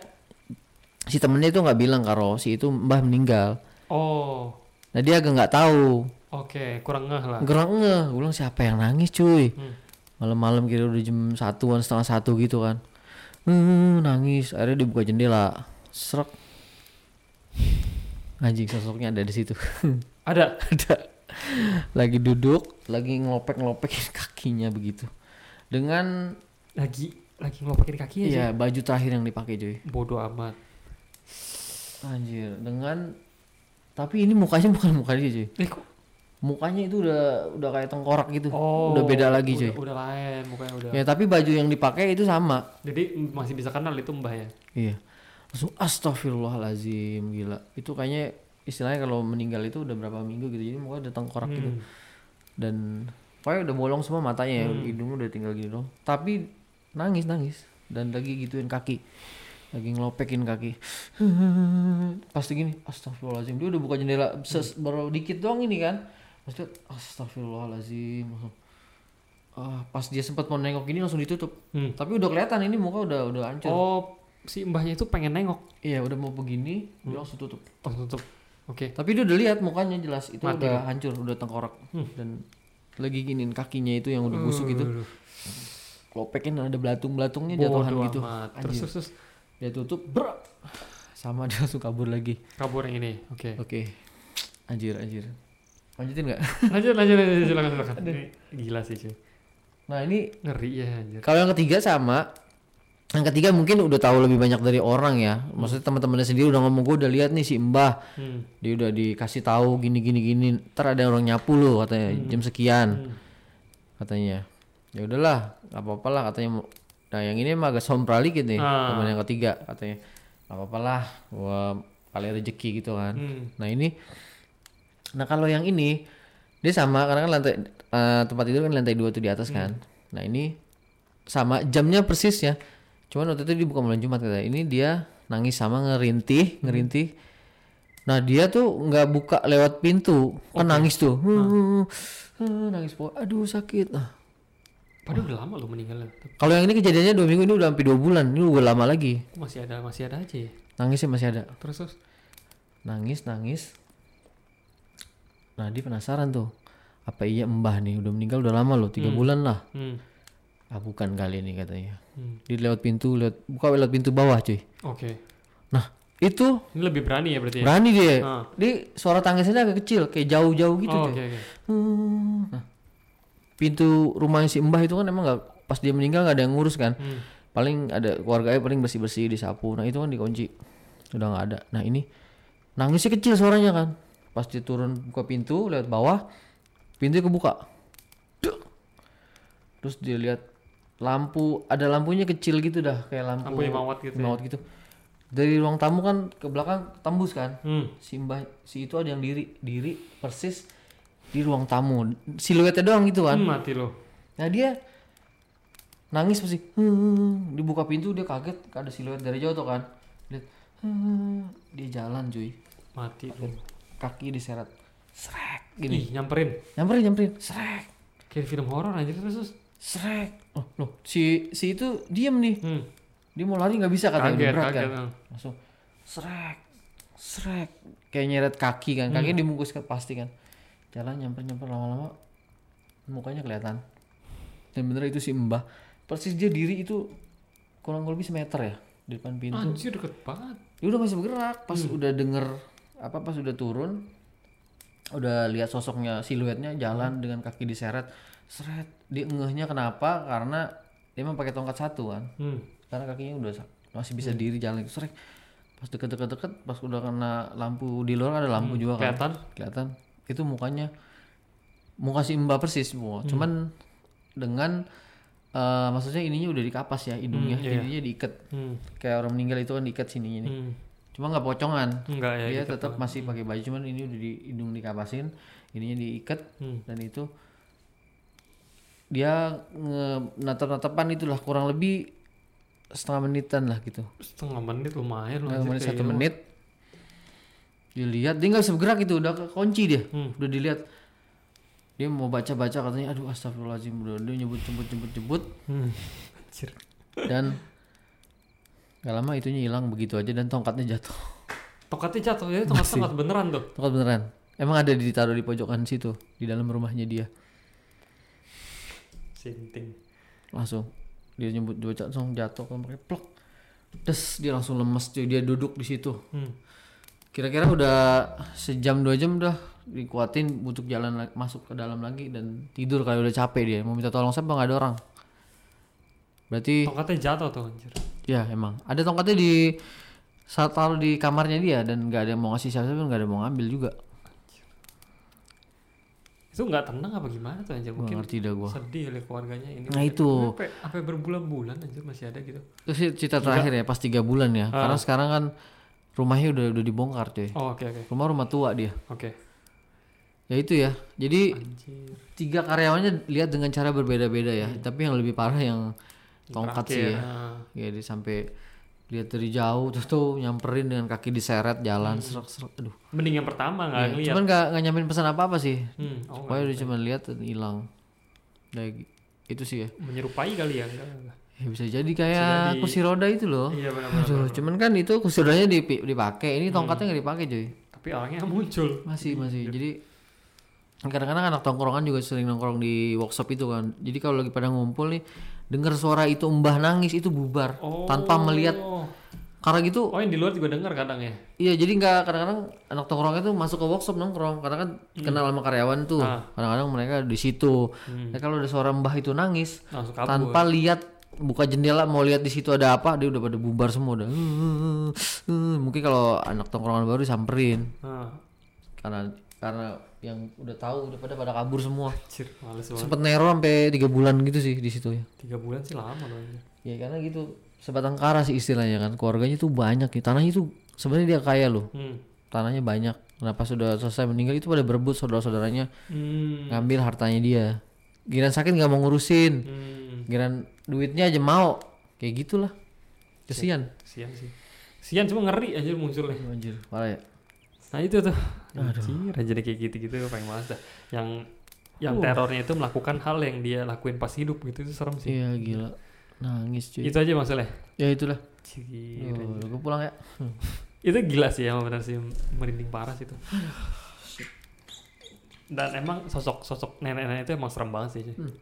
Speaker 1: si temennya itu nggak bilang kalau si itu mbah meninggal.
Speaker 2: Oh,
Speaker 1: Nah dia agak nggak tahu.
Speaker 2: oke, kurang ngeh lah.
Speaker 1: Gerang nggak? Gue bilang siapa yang nangis cuy?
Speaker 2: Hmm.
Speaker 1: Malam-malam kira udah jam satuan setengah satu gitu kan. Hmm, nangis. Akhirnya dibuka jendela. Serak. Anjing sosoknya ada di situ.
Speaker 2: Ada.
Speaker 1: ada. Lagi duduk, lagi ngelopek-ngelopekin kakinya begitu. Dengan
Speaker 2: Lagi lagi ngelopakin kakinya Iya sih.
Speaker 1: ya baju terakhir yang dipakai cuy.
Speaker 2: Bodoh amat.
Speaker 1: Anjir, dengan tapi ini mukanya bukan muka dia cuy.
Speaker 2: Eh, kok-
Speaker 1: Mukanya itu udah udah kayak tengkorak gitu.
Speaker 2: Oh, iya.
Speaker 1: udah beda lagi cuy.
Speaker 2: udah, udah lain, mukanya udah.
Speaker 1: Ya tapi baju yang dipakai itu sama.
Speaker 2: Jadi m- masih bisa kenal itu Mbah ya.
Speaker 1: Iya. Langsung astagfirullahalazim gila. Itu kayaknya istilahnya kalau meninggal itu udah berapa minggu gitu. Jadi mukanya udah tengkorak gitu.
Speaker 2: Hmm.
Speaker 1: Dan pokoknya udah bolong semua matanya ya, hidungnya udah tinggal gini doang. Tapi nangis nangis dan lagi gituin kaki. Lagi ngelopekin kaki. Pasti gini, astagfirullahalazim. Dia udah buka jendela ses, baru dikit doang ini kan. maksudnya astagfirullahalazim Ah, pas dia sempat mau nengok gini langsung ditutup
Speaker 2: Hmm.
Speaker 1: tapi udah kelihatan ini muka udah udah hancur
Speaker 2: Oh, si mbahnya itu pengen nengok.
Speaker 1: iya udah mau begini dia langsung tutup
Speaker 2: Oh, tutup. Oke.
Speaker 1: tapi dia udah lihat mukanya jelas itu
Speaker 2: Mati Hmm.
Speaker 1: udah hancur udah tengkorak dan lagi giniin kakinya itu yang udah busuk gitu. itu
Speaker 2: Aduh,
Speaker 1: klopekin ada belatung belatungnya jatuhan
Speaker 2: Bodoh
Speaker 1: gitu
Speaker 2: amat. Terus,
Speaker 1: Anjir.
Speaker 2: terus, terus.
Speaker 1: dia tutup ber sama dia langsung kabur lagi
Speaker 2: Kabur yang ini. Oke.
Speaker 1: oke anjir anjir lanjutin nggak
Speaker 2: Lanjut, lanjut, lanjut. Silakan, silakan. Ini Gila sih cuy.
Speaker 1: nah ini
Speaker 2: Ngeri ya anjir.
Speaker 1: kalau yang ketiga sama yang ketiga mungkin udah tahu lebih banyak dari orang ya maksudnya teman-temannya sendiri udah ngomong gue udah lihat nih si mbah
Speaker 2: Hmm.
Speaker 1: dia udah dikasih tahu gini gini gini ntar ada orang nyapu lo katanya jam sekian
Speaker 2: Hmm.
Speaker 1: katanya ya udahlah nggak apa-apa lah katanya nah yang ini emang agak sompral dikit nih
Speaker 2: Ah.
Speaker 1: teman yang ketiga katanya nggak apa-apa lah gua kali rezeki gitu kan
Speaker 2: Hmm.
Speaker 1: nah ini nah kalau yang ini dia sama karena kan lantai eh, tempat tidur kan lantai dua tuh di atas kan nah ini sama jamnya persis ya cuman waktu itu dia bukan malam jumat katanya ini dia nangis sama ngerintih ngerintih Nah dia tuh nggak buka lewat pintu, kan nangis tuh, Hmm, hmm, nangis po, aduh sakit. Nah,
Speaker 2: Padahal udah lama lo meninggalnya. Tapi
Speaker 1: kalau yang ini kejadiannya dua minggu ini udah hampir dua bulan, ini udah lama lagi.
Speaker 2: masih ada, masih ada aja ya.
Speaker 1: Nangisnya masih ada,
Speaker 2: Terus, terus.
Speaker 1: nangis nangis. Nah dia penasaran tuh, apa iya mbah nih udah meninggal udah lama loh, tiga bulan lah.
Speaker 2: Hmm.
Speaker 1: Ah bukan kali ini katanya.
Speaker 2: Hmm.
Speaker 1: Dia lewat pintu, lewat buka lewat pintu bawah cuy.
Speaker 2: Oke.
Speaker 1: Nah itu
Speaker 2: Ini lebih berani ya berarti ya?
Speaker 1: berani dia.
Speaker 2: Ah.
Speaker 1: Dia suara tangisnya agak kecil, kayak jauh-jauh gitu
Speaker 2: Oh,
Speaker 1: cuy.
Speaker 2: Oke, oke.
Speaker 1: Hmm. Nah, pintu rumahnya si Mbah itu kan emang nggak pas dia meninggal nggak ada yang ngurus kan.
Speaker 2: Hmm.
Speaker 1: Paling ada keluarganya paling bersih bersih disapu. Nah itu kan dikunci udah nggak ada. Nah ini nangisnya kecil suaranya kan. Pas dia turun buka pintu lihat bawah pintu kebuka. Duk. Terus dia lihat lampu ada lampunya kecil gitu dah kayak lampu
Speaker 2: Lampunya mawat gitu ya?
Speaker 1: mawat gitu. Dari ruang tamu kan ke belakang tembus kan
Speaker 2: Hmm.
Speaker 1: si mbah si itu ada yang diri diri persis di ruang tamu siluetnya doang gitu kan
Speaker 2: Hmm, mati lo.
Speaker 1: nah dia nangis pasti "Hmm." dibuka pintu dia kaget ada siluet dari jauh tuh kan lihat "Hmm." dia jalan cuy
Speaker 2: Mati lo.
Speaker 1: kaki diseret srek gini
Speaker 2: Ih, nyamperin.
Speaker 1: nyamperin nyamperin srek
Speaker 2: Kayak film horor anjir terus. terus.
Speaker 1: srek oh loh si si itu diem nih
Speaker 2: Hmm.
Speaker 1: dia mau lari nggak bisa katanya udah
Speaker 2: Kaget,
Speaker 1: berat kan
Speaker 2: kaget. ah.
Speaker 1: langsung srek srek kayak nyeret kaki kan kaki dibungkus ke pasti kan jalan nyamper nyamper lama-lama mukanya kelihatan dan bener itu si mbah persis dia diri itu kurang lebih semeter ya di depan pintu
Speaker 2: Anjir deket banget.
Speaker 1: dia udah masih bergerak pas udah denger apa pas udah turun udah lihat sosoknya siluetnya jalan dengan kaki diseret seret dia ngehnya kenapa karena dia emang pakai tongkat satu kan
Speaker 2: Hmm.
Speaker 1: karena kakinya udah sak- masih bisa diri jalan gitu srek pas deket-deket-deket pas udah kena lampu di luar kan ada lampu juga kan
Speaker 2: Hmm, Kelihatan.
Speaker 1: kelihatan itu mukanya muka si mbak persis semua
Speaker 2: Hmm.
Speaker 1: cuman dengan eh, maksudnya ininya udah dikapas ya hidungnya
Speaker 2: Hmm, iya.
Speaker 1: hidungnya diikat
Speaker 2: Hmm.
Speaker 1: kayak orang meninggal itu kan diikat sininya nih
Speaker 2: Hmm.
Speaker 1: cuma nggak pocongan
Speaker 2: Enggak ya.
Speaker 1: dia
Speaker 2: deket
Speaker 1: tetap
Speaker 2: banget.
Speaker 1: masih pakai baju cuman ini udah di hidung dikapasin ininya diikat
Speaker 2: Hmm.
Speaker 1: dan itu dia nge natap-natapan itulah kurang lebih setengah menitan lah gitu
Speaker 2: Setengah menit
Speaker 1: Setengah
Speaker 2: lumayan loh. anjir,
Speaker 1: Eh, menit
Speaker 2: kayak
Speaker 1: satu
Speaker 2: gitu.
Speaker 1: menit dilihat dia nggak bisa bergerak itu udah kunci dia
Speaker 2: Hmm.
Speaker 1: udah dilihat dia mau baca-baca katanya aduh astagfirullahaladzim udah dia nyebut nyebut nyebut nyebut
Speaker 2: Hmm. Anjir.
Speaker 1: dan gak lama itunya hilang begitu aja dan tongkatnya jatuh
Speaker 2: Tokatnya jatuh ya, tongkat tongkat beneran tuh.
Speaker 1: tongkat beneran emang ada ditaruh di pojokan situ di dalam rumahnya dia
Speaker 2: Sinting.
Speaker 1: langsung dia nyebut baca langsung jatuh ke mereka plek des dia langsung lemes cuy dia duduk di situ
Speaker 2: Hmm.
Speaker 1: kira-kira udah sejam dua jam udah dikuatin butuh jalan la- masuk ke dalam lagi dan tidur kalau udah capek dia mau minta tolong siapa nggak ada orang berarti
Speaker 2: Tongkatnya jatuh tuh anjir.
Speaker 1: ya emang ada tongkatnya di saat taruh di kamarnya dia dan nggak ada yang mau ngasih siapa-siapa nggak ada yang mau ngambil juga
Speaker 2: Itu nggak tenang apa gimana tuh anjir?
Speaker 1: gua
Speaker 2: Ya, Mungkin
Speaker 1: ngerti dah gua
Speaker 2: sedih oleh keluarganya ini.
Speaker 1: Nah, itu.
Speaker 2: Sampai, sampai berbulan-bulan anjir masih ada gitu.
Speaker 1: itu sih cerita terakhir ya pas tiga bulan ya karena sekarang kan rumahnya udah udah dibongkar cuy
Speaker 2: Oh, oke oke.
Speaker 1: rumah rumah tua dia
Speaker 2: Oke.
Speaker 1: ya itu ya jadi
Speaker 2: Anjir.
Speaker 1: tiga karyawannya lihat dengan cara berbeda-beda ya tapi yang lebih parah yang tongkat sih ya
Speaker 2: Terakhir, ah.
Speaker 1: jadi sampai lihat dari jauh terus tuh nyamperin dengan kaki diseret jalan serak serak aduh
Speaker 2: Mending yang pertama Hmm. nggak
Speaker 1: Iya,
Speaker 2: ngeliat.
Speaker 1: cuman nggak nggak nyampein pesan apa apa sih
Speaker 2: Hmm, oh,
Speaker 1: pokoknya udah cuma lihat dan hilang Dari- itu sih ya
Speaker 2: menyerupai kali ya. Enggak, enggak.
Speaker 1: Ya, bisa jadi kayak
Speaker 2: jadi.
Speaker 1: kursi roda itu loh
Speaker 2: Iya benar-benar.
Speaker 1: gitu. aduh cuman kan itu kursi rodanya dipi- dipakai ini tongkatnya
Speaker 2: Hmm.
Speaker 1: nggak dipakai cuy
Speaker 2: Tapi orangnya muncul.
Speaker 1: masih masih
Speaker 2: iya.
Speaker 1: jadi kadang-kadang anak tongkrongan juga sering nongkrong di workshop itu kan jadi kalau lagi pada ngumpul nih dengar suara itu mbah nangis itu bubar
Speaker 2: Oh.
Speaker 1: tanpa melihat karena gitu
Speaker 2: Oh yang di luar juga dengar kadang ya.
Speaker 1: Iya jadi nggak kadang-kadang anak tongkrongnya tuh masuk ke workshop nongkrong karena kan kenal sama karyawan tuh
Speaker 2: Hmm. Ah.
Speaker 1: kadang-kadang mereka di situ. Nah, kalau ada suara mbah itu nangis
Speaker 2: Hmm. Langsung kabur.
Speaker 1: tanpa lihat buka jendela mau lihat di situ ada apa dia udah pada bubar semua udah. "Uh, Mungkin kalau anak tongkrongan baru samperin
Speaker 2: Ah,
Speaker 1: karena karena yang udah tahu udah pada pada kabur semua.
Speaker 2: anjir, males banget.
Speaker 1: Sempet nero sampai tiga bulan gitu sih di situ ya.
Speaker 2: Tiga bulan sih lama loh. anjir.
Speaker 1: Ya karena gitu sebatang kara sih istilahnya kan keluarganya tuh banyak nih tanahnya tuh sebenarnya dia kaya loh
Speaker 2: Hmm.
Speaker 1: tanahnya banyak. Kenapa sudah selesai meninggal itu pada berebut saudara-saudaranya
Speaker 2: Hmm.
Speaker 1: ngambil hartanya dia. Giran sakit nggak mau ngurusin.
Speaker 2: Hmm.
Speaker 1: Giran duitnya aja mau. Kayak gitulah. Kesian.
Speaker 2: Sian sih. Sian cuma ngeri anjir munculnya.
Speaker 1: Anjir, parah ya.
Speaker 2: Nah itu tuh. Anjir, aja deh kayak gitu-gitu gue pengen males dah. Yang yang
Speaker 1: Uh.
Speaker 2: terornya itu melakukan hal yang dia lakuin pas hidup gitu itu serem sih.
Speaker 1: Iya gila. Nangis cuy.
Speaker 2: Itu aja masalahnya.
Speaker 1: Ya itulah.
Speaker 2: Anjir,
Speaker 1: Duh, gue pulang ya. Hmm.
Speaker 2: itu gila sih emang benar sih merinding parah sih itu dan emang sosok sosok nenek-nenek itu emang serem banget sih cuy.
Speaker 1: Hmm.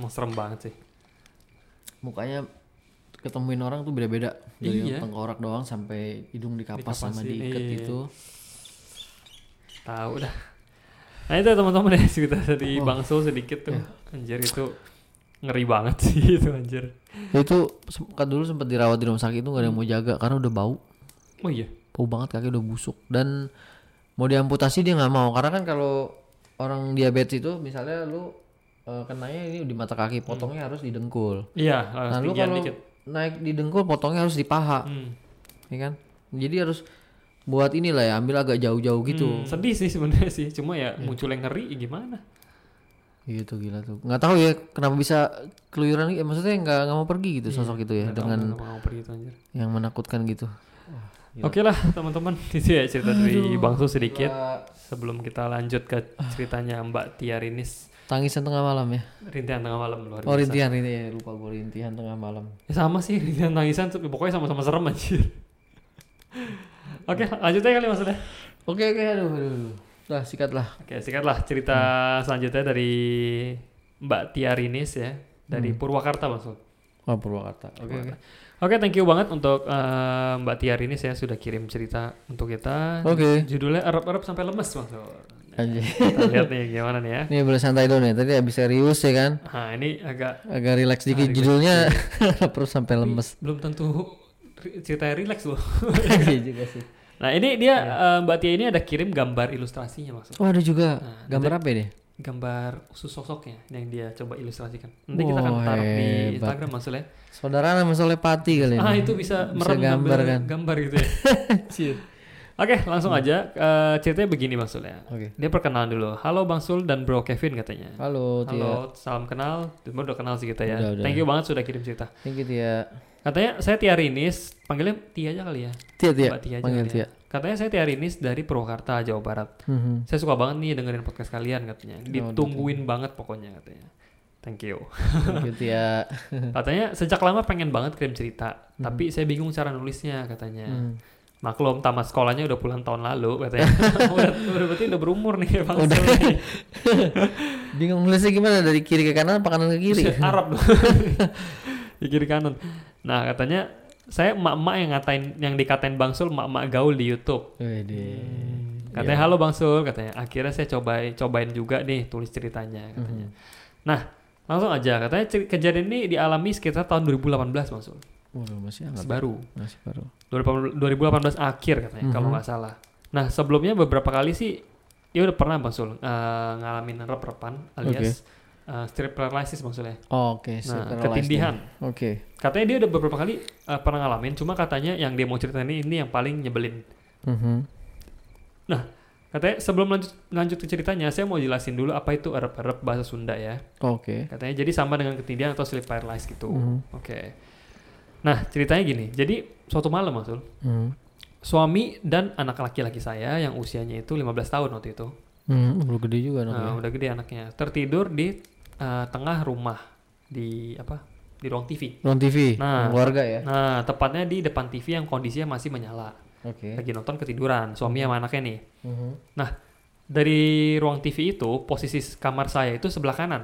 Speaker 2: emang serem banget sih
Speaker 1: Mukanya ketemuin orang tuh beda-beda. Dari
Speaker 2: Iya.
Speaker 1: yang tengkorak doang sampai hidung dikapas sama
Speaker 2: Dikapasin,
Speaker 1: diikat
Speaker 2: iya.
Speaker 1: gitu.
Speaker 2: tahu dah nah itu teman-teman ya cerita
Speaker 1: Wow.
Speaker 2: dari
Speaker 1: Iya.
Speaker 2: Bang Sul sedikit tuh anjir itu ngeri banget sih itu anjir
Speaker 1: Ya, itu sem- kan dulu sempat dirawat di rumah sakit itu nggak ada yang mau jaga karena udah bau.
Speaker 2: oh iya
Speaker 1: bau banget kaki udah busuk dan mau diamputasi dia nggak mau karena kan kalau orang diabetes itu misalnya lu eh, kenanya ini di mata kaki
Speaker 2: Hmm.
Speaker 1: potongnya harus di dengkul
Speaker 2: iya
Speaker 1: nah lu
Speaker 2: setinggian
Speaker 1: kalau
Speaker 2: dikit
Speaker 1: naik di dengkul potongnya harus di paha
Speaker 2: Hmm.
Speaker 1: ya kan jadi harus buat inilah ya ambil agak jauh-jauh gitu
Speaker 2: Hmm, sedih sih sebenarnya sih cuma ya
Speaker 1: Iya.
Speaker 2: muncul yang ngeri ya gimana
Speaker 1: gitu gila tuh nggak tahu ya kenapa bisa keluyuran ya, maksudnya nggak nggak mau pergi gitu sosok itu ya
Speaker 2: Iya, Nggak tahu
Speaker 1: dengan
Speaker 2: kenapa mau pergi itu anjir
Speaker 1: yang menakutkan gitu
Speaker 2: Oke lah teman-teman, itu ya cerita dari Bang Sul sedikit. Sebelum kita lanjut ke
Speaker 1: Ah.
Speaker 2: ceritanya Mbak Tiarinis
Speaker 1: tangisan tengah malam ya
Speaker 2: Rintihan Tengah Malam luar
Speaker 1: oh
Speaker 2: biasa.
Speaker 1: rintihan ini ya lupa gue rintihan tengah malam
Speaker 2: Ya, sama sih Rintihan Tangisan, tapi pokoknya sama-sama serem anjir. Oke, lanjut aja kali maksudnya.
Speaker 1: oke oke aduh aduh, aduh lah sikat lah
Speaker 2: Oke, singkatlah cerita
Speaker 1: Hmm.
Speaker 2: selanjutnya dari Mbak Tiarinis ya, dari Purwakarta maksud.
Speaker 1: Oh Purwakarta. Oke Hmm. oke.
Speaker 2: Purwakarta. Oke, thank you banget untuk eh, Mbak Tiarinis ya sudah kirim cerita untuk kita.
Speaker 1: Oke.
Speaker 2: Judulnya Arab-Arab sampai lemes maksud. Nah,
Speaker 1: Anjir.
Speaker 2: Kita lihat nih gimana nih ya.
Speaker 1: Ini boleh santai dulu nih. Tadi habis serius ya kan.
Speaker 2: Nah, ini agak
Speaker 1: Agak relax dikit judulnya terus sampai lemes.
Speaker 2: belum tentu ri- ceritanya relax loh.
Speaker 1: Iya juga sih.
Speaker 2: Nah, ini
Speaker 1: Iya.
Speaker 2: dia eh, Mbak Tia ini ada kirim gambar ilustrasinya maksud.
Speaker 1: Oh ada juga
Speaker 2: Nah,
Speaker 1: gambar apa ini?
Speaker 2: Gambar usus sosoknya yang dia coba ilustrasikan. Nanti kita
Speaker 1: Wah,
Speaker 2: akan taruh di
Speaker 1: hebat.
Speaker 2: Instagram maksudnya.
Speaker 1: Saudara nama Solepati kali ini.
Speaker 2: Ah, itu
Speaker 1: Bisa
Speaker 2: bisa, merem
Speaker 1: gambar,
Speaker 2: ngambil
Speaker 1: kan?
Speaker 2: gambar gitu ya. Oke, langsung aja. Eh, ceritanya begini maksudnya.
Speaker 1: Oke.
Speaker 2: Dia perkenalan dulu. Halo Bang Sul dan Bro Kevin katanya.
Speaker 1: Halo Tia.
Speaker 2: Halo, salam kenal. Sebenernya udah kenal sih kita ya.
Speaker 1: Udah, udah.
Speaker 2: Thank you banget sudah kirim cerita.
Speaker 1: Thank you Tia.
Speaker 2: Katanya saya Tia Rinis, panggilnya Tia aja kali ya.
Speaker 1: Tia Tia.
Speaker 2: Mbak Tia aja
Speaker 1: Panggil
Speaker 2: kali
Speaker 1: Tia.
Speaker 2: ya. Katanya saya Tia Rinis dari Purwakarta, Jawa Barat.
Speaker 1: Mhm.
Speaker 2: Saya suka banget nih dengerin podcast kalian katanya. Ditungguin banget pokoknya katanya. Thank you.
Speaker 1: Thank you Tia.
Speaker 2: Katanya sejak lama pengen banget kirim cerita, tapi saya bingung cara nulisnya katanya.
Speaker 1: Hmm.
Speaker 2: Maklum tamat sekolahnya udah puluhan tahun lalu katanya. udah, udah berarti udah berumur nih Bang.
Speaker 1: Udah.
Speaker 2: Sul nih.
Speaker 1: Bingung nulisnya gimana dari kiri ke kanan apa kanan ke kiri?
Speaker 2: Buset, Arab dong. di kiri kanan. Nah, katanya saya emak-emak yang ngatain yang dikatain Bang Sul emak-emak gaul di YouTube.
Speaker 1: Wede. Iya.
Speaker 2: Hmm. Katanya halo Bang Sul katanya. Akhirnya saya cobain cobain juga nih tulis ceritanya katanya. Nah, langsung aja katanya ceri- kejadian ini dialami sekitar tahun 2018 Bang Sul.
Speaker 1: Waduh masih hangat.
Speaker 2: Baru.
Speaker 1: Masih baru.
Speaker 2: 2018 2018 akhir katanya kalau nggak salah. Nah sebelumnya beberapa kali sih ya udah pernah bang Sul eh, ngalamin rep-repan alias eh, strip paralysis maksudnya.
Speaker 1: Oke,
Speaker 2: Nah
Speaker 1: setelah
Speaker 2: ketindihan.
Speaker 1: last nih. Oke.
Speaker 2: Katanya dia udah beberapa kali eh, pernah ngalamin, cuma katanya yang dia mau ceritain ini, ini yang paling nyebelin.
Speaker 1: Mhm.
Speaker 2: Nah katanya sebelum lanjut lanjut ke ceritanya saya mau jelasin dulu apa itu rep-rep bahasa Sunda ya.
Speaker 1: Oke.
Speaker 2: Katanya jadi sama dengan ketindihan atau sleep paralysis gitu.
Speaker 1: Mhm.
Speaker 2: Oke. Nah ceritanya gini, jadi suatu malam Mas Ul,
Speaker 1: Hmm.
Speaker 2: suami dan anak laki-laki saya yang usianya itu 15 tahun waktu itu,
Speaker 1: Hmm, belum gede juga
Speaker 2: nah,
Speaker 1: anaknya.
Speaker 2: udah gede anaknya, tertidur di eh, tengah rumah di apa di ruang TV.
Speaker 1: Nonton TV,
Speaker 2: Nah.
Speaker 1: keluarga ya.
Speaker 2: Nah tepatnya di depan TV yang kondisinya masih menyala,
Speaker 1: Oke.
Speaker 2: lagi nonton ketiduran, suami sama anaknya nih.
Speaker 1: Mhm.
Speaker 2: Nah, Dari ruang TV itu posisi kamar saya itu sebelah kanan,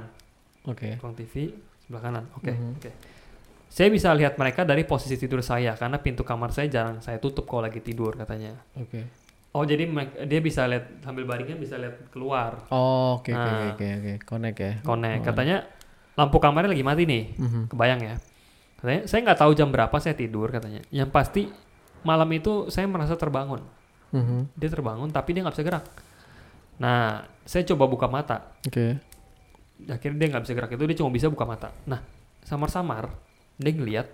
Speaker 1: Oke.
Speaker 2: ruang TV sebelah kanan. Oke,
Speaker 1: Mhm.
Speaker 2: oke. Saya bisa lihat mereka dari posisi tidur saya karena pintu kamar saya jarang saya tutup kalau lagi tidur katanya.
Speaker 1: Oke.
Speaker 2: Oh jadi merek- dia bisa lihat sambil baringnya bisa lihat keluar
Speaker 1: Oh, Oke oke
Speaker 2: Nah.
Speaker 1: oke oke. Connect ya.
Speaker 2: connect.
Speaker 1: Oh.
Speaker 2: Katanya lampu kamarnya lagi mati nih,
Speaker 1: Mhm.
Speaker 2: kebayang ya. Katanya saya nggak tahu jam berapa saya tidur katanya. Yang pasti malam itu saya merasa terbangun.
Speaker 1: Mhm.
Speaker 2: Dia terbangun tapi dia nggak bisa gerak. Nah saya coba buka mata.
Speaker 1: Oke.
Speaker 2: Akhirnya dia nggak bisa gerak itu dia cuma bisa buka mata. Nah samar-samar dia ngeliat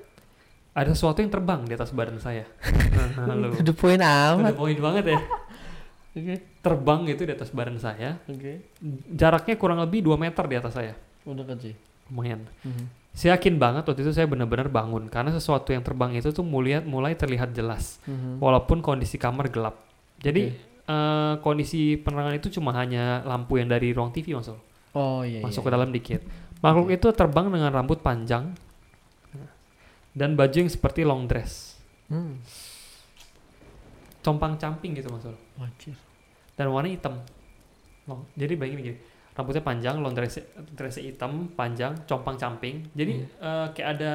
Speaker 2: ada sesuatu yang terbang di atas badan saya. Nah, lu.
Speaker 1: To the point
Speaker 2: Udah
Speaker 1: amat.
Speaker 2: poin banget ya.
Speaker 1: Oke.
Speaker 2: Terbang itu di atas badan saya.
Speaker 1: Oke.
Speaker 2: jaraknya kurang lebih 2 meter di atas saya
Speaker 1: Udah kan, Hmm, kecil.
Speaker 2: lumayan saya yakin banget waktu itu saya benar-benar bangun karena sesuatu yang terbang itu tuh mulai mulai terlihat jelas
Speaker 1: hmm,
Speaker 2: walaupun kondisi kamar gelap jadi eh, kondisi penerangan itu cuma hanya lampu yang dari ruang TV masuk
Speaker 1: Oh iya.
Speaker 2: masuk ke
Speaker 1: iya.
Speaker 2: dalam dikit makhluk itu terbang dengan rambut panjang dan baju yang seperti long dress
Speaker 1: Hmm.
Speaker 2: compang camping gitu masuk
Speaker 1: Wajir.
Speaker 2: dan warna hitam Long- jadi bayangin gini rambutnya panjang long dress dressnya hitam panjang compang camping
Speaker 1: Iya.
Speaker 2: jadi eh, kayak ada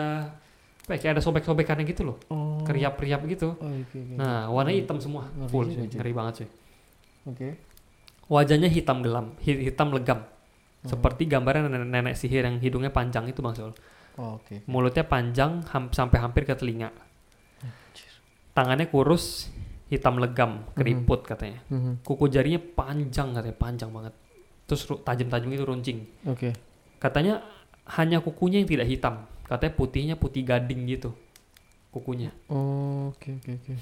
Speaker 2: apa ya, kayak ada sobek-sobekannya gitu loh
Speaker 1: Oh.
Speaker 2: keriap-keriap gitu
Speaker 1: Oh, oke oke.
Speaker 2: nah warna hitam semua
Speaker 1: Ngeri
Speaker 2: full
Speaker 1: juga,
Speaker 2: sih,
Speaker 1: cuy.
Speaker 2: ngeri banget sih
Speaker 1: Oke.
Speaker 2: wajahnya hitam gelam hi- hitam legam
Speaker 1: Hmm.
Speaker 2: seperti gambaran nenek, nenek sihir yang hidungnya panjang itu bang Sol
Speaker 1: Oh, oke.
Speaker 2: mulutnya panjang ham- sampai hampir ke telinga tangannya kurus hitam legam keriput katanya
Speaker 1: Mhm.
Speaker 2: kuku jarinya panjang katanya panjang banget terus ru- tajam-tajam itu runcing
Speaker 1: Oke.
Speaker 2: Katanya hanya kukunya yang tidak hitam. Katanya putihnya putih gading gitu. Kukunya.
Speaker 1: Oh, oke oke oke.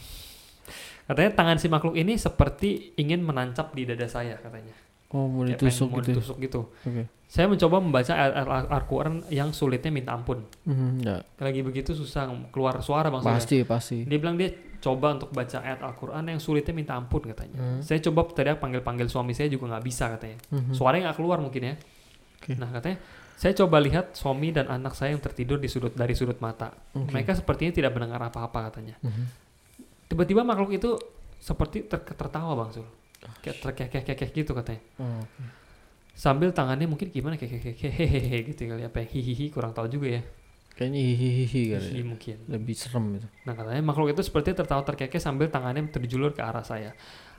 Speaker 2: Katanya tangan si makhluk ini seperti ingin menancap di dada saya katanya.
Speaker 1: Oh, mau
Speaker 2: Kayak
Speaker 1: ditusuk
Speaker 2: pengen mau
Speaker 1: gitu. ya?
Speaker 2: ditusuk gitu.
Speaker 1: Oke.
Speaker 2: Saya mencoba membaca Al- Al- Al- Al-Quran yang sulitnya minta ampun.
Speaker 1: Mhm, enggak.
Speaker 2: Lagi begitu susah keluar suara bang. saya.
Speaker 1: Pasti pasti.
Speaker 2: Dia bilang dia coba untuk baca ayat Al-Quran yang sulitnya minta ampun katanya.
Speaker 1: Hmm.
Speaker 2: Saya coba teriak panggil-panggil suami saya juga nggak bisa katanya.
Speaker 1: Mhm.
Speaker 2: Suaranya nggak keluar mungkin ya.
Speaker 1: Oke.
Speaker 2: Nah katanya saya coba lihat suami dan anak saya yang tertidur di sudut dari sudut mata.
Speaker 1: Oke.
Speaker 2: Mereka sepertinya tidak mendengar apa-apa katanya.
Speaker 1: Mhm.
Speaker 2: Tiba-tiba makhluk itu seperti ter- tertawa bang Sul. Kayak terkekeh-kekeh gitu katanya.
Speaker 1: Oh, oke.
Speaker 2: Sambil tangannya mungkin gimana kekeh-kekeh hehehe gitu kali apa ya. hihihi kurang tahu juga ya.
Speaker 1: Kayaknya hihihi kali.
Speaker 2: Hihi
Speaker 1: ya.
Speaker 2: mungkin.
Speaker 1: Lebih serem itu.
Speaker 2: Nah katanya makhluk itu seperti tertawa terkekeh sambil tangannya terjulur ke arah saya.